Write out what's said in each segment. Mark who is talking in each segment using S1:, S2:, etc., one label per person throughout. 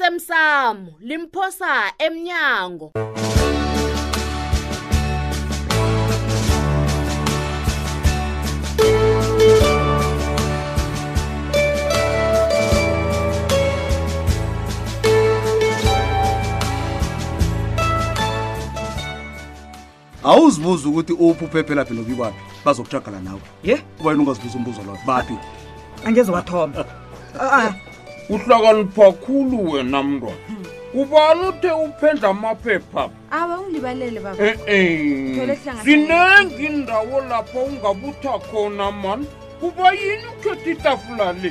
S1: osemsamo limphosa emnyango
S2: awuzibuza ukuthi uphi uphephelaphi nobikwaphi bazokujagala nawe
S3: ye
S2: wena ungazibuza umbuzo loyo baphi
S3: angeze wathoma Ah,
S4: uhlakanipha khulu wena mntwana ubani uthe uphendla amaphepha
S5: awa ungilibalele baba Thole
S4: e-e
S5: kuhlangana-
S4: zinengi indawo lapho ungabutha khona mani kuba yini ukhetha itafula le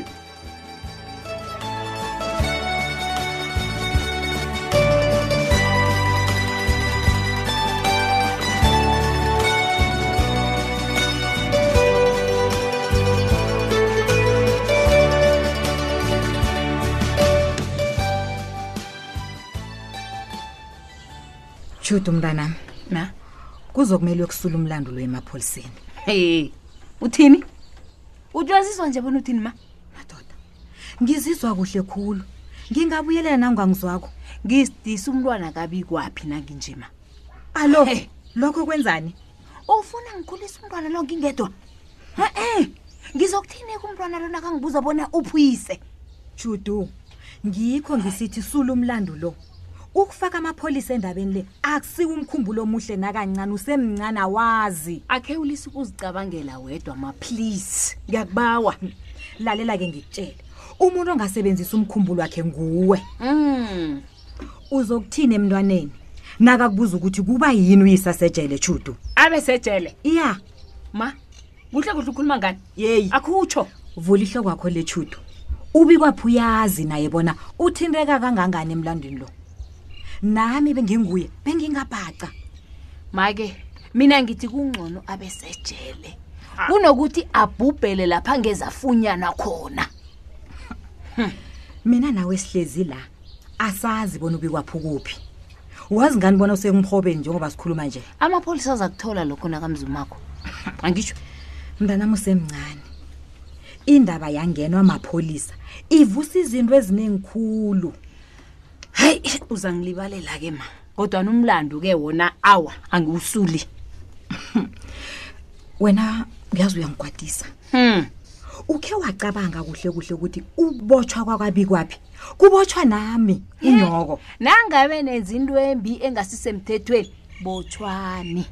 S6: Jude mntanami
S7: na
S6: kuzokumele uyokusula umlando lo emapholiseni
S7: hey uthini utywaziswa nje bona uthini ma
S6: madoda ngizizwa kuhle khulu ngingabuyelela nangwangizwakho
S7: ngisidisa umntwana kabi kwaphi nangi nje ma
S6: alo
S7: Hey.
S6: lokho kwenzani
S7: ufuna ngikhulisa umntwana lo ngingedwa e-e ngizokuthini-ke umntwana lona kangibuza bona uphuyise
S6: judu ngikho ngisithi sula umlando lo ukufaka amapholisa endabeni le akusiwe umkhumbulo omuhle nakancane usemncane awazi
S7: akhe ulise ukuzicabangela wedwa ma please ngiyakubawa
S6: lalela-ke ngikutshele umuntu ongasebenzisa umkhumbulo wakhe nguwe
S7: um
S6: uzokuthini emntwaneni nakakubuza ukuthi kuba yini uyisasejele judu
S7: abe sejele
S6: iya
S7: ma kuhle kuhle ukhuluma ngani
S6: yeyi
S7: akutsho
S6: vula ihloko kwakho lechudo ubikwaphi uyazi naye bona uthinteka kangangani emlandweni lo nami benginguye bengingabhaca
S7: make mina ngithi kungcono abe sejele kunokuthi abhubhele lapha ngezafunyanwa khona
S6: mina nawe sihlezi la asazi bona ubikwaphi ukuphi wazi ngani bona usemhobeni njengoba sikhuluma nje
S7: amapholisa aza kuthola lokho nakamzumakho angitsho
S6: mntanami usemncane indaba yangenwa mapholisa ivusa izinto ezinengikhulu
S7: hayi uza ngilibalela-ke ma kodwana umlando-ke wona awa angiwusuli
S6: wena uyazi uyangigwadisa
S7: hmm.
S6: ukhe wacabanga kuhle kuhle ukuthi ubotshwa kwakwabikwaphi kubotshwa nami unyoko
S7: nangabe nenza into embi engasisemthethweni botshwani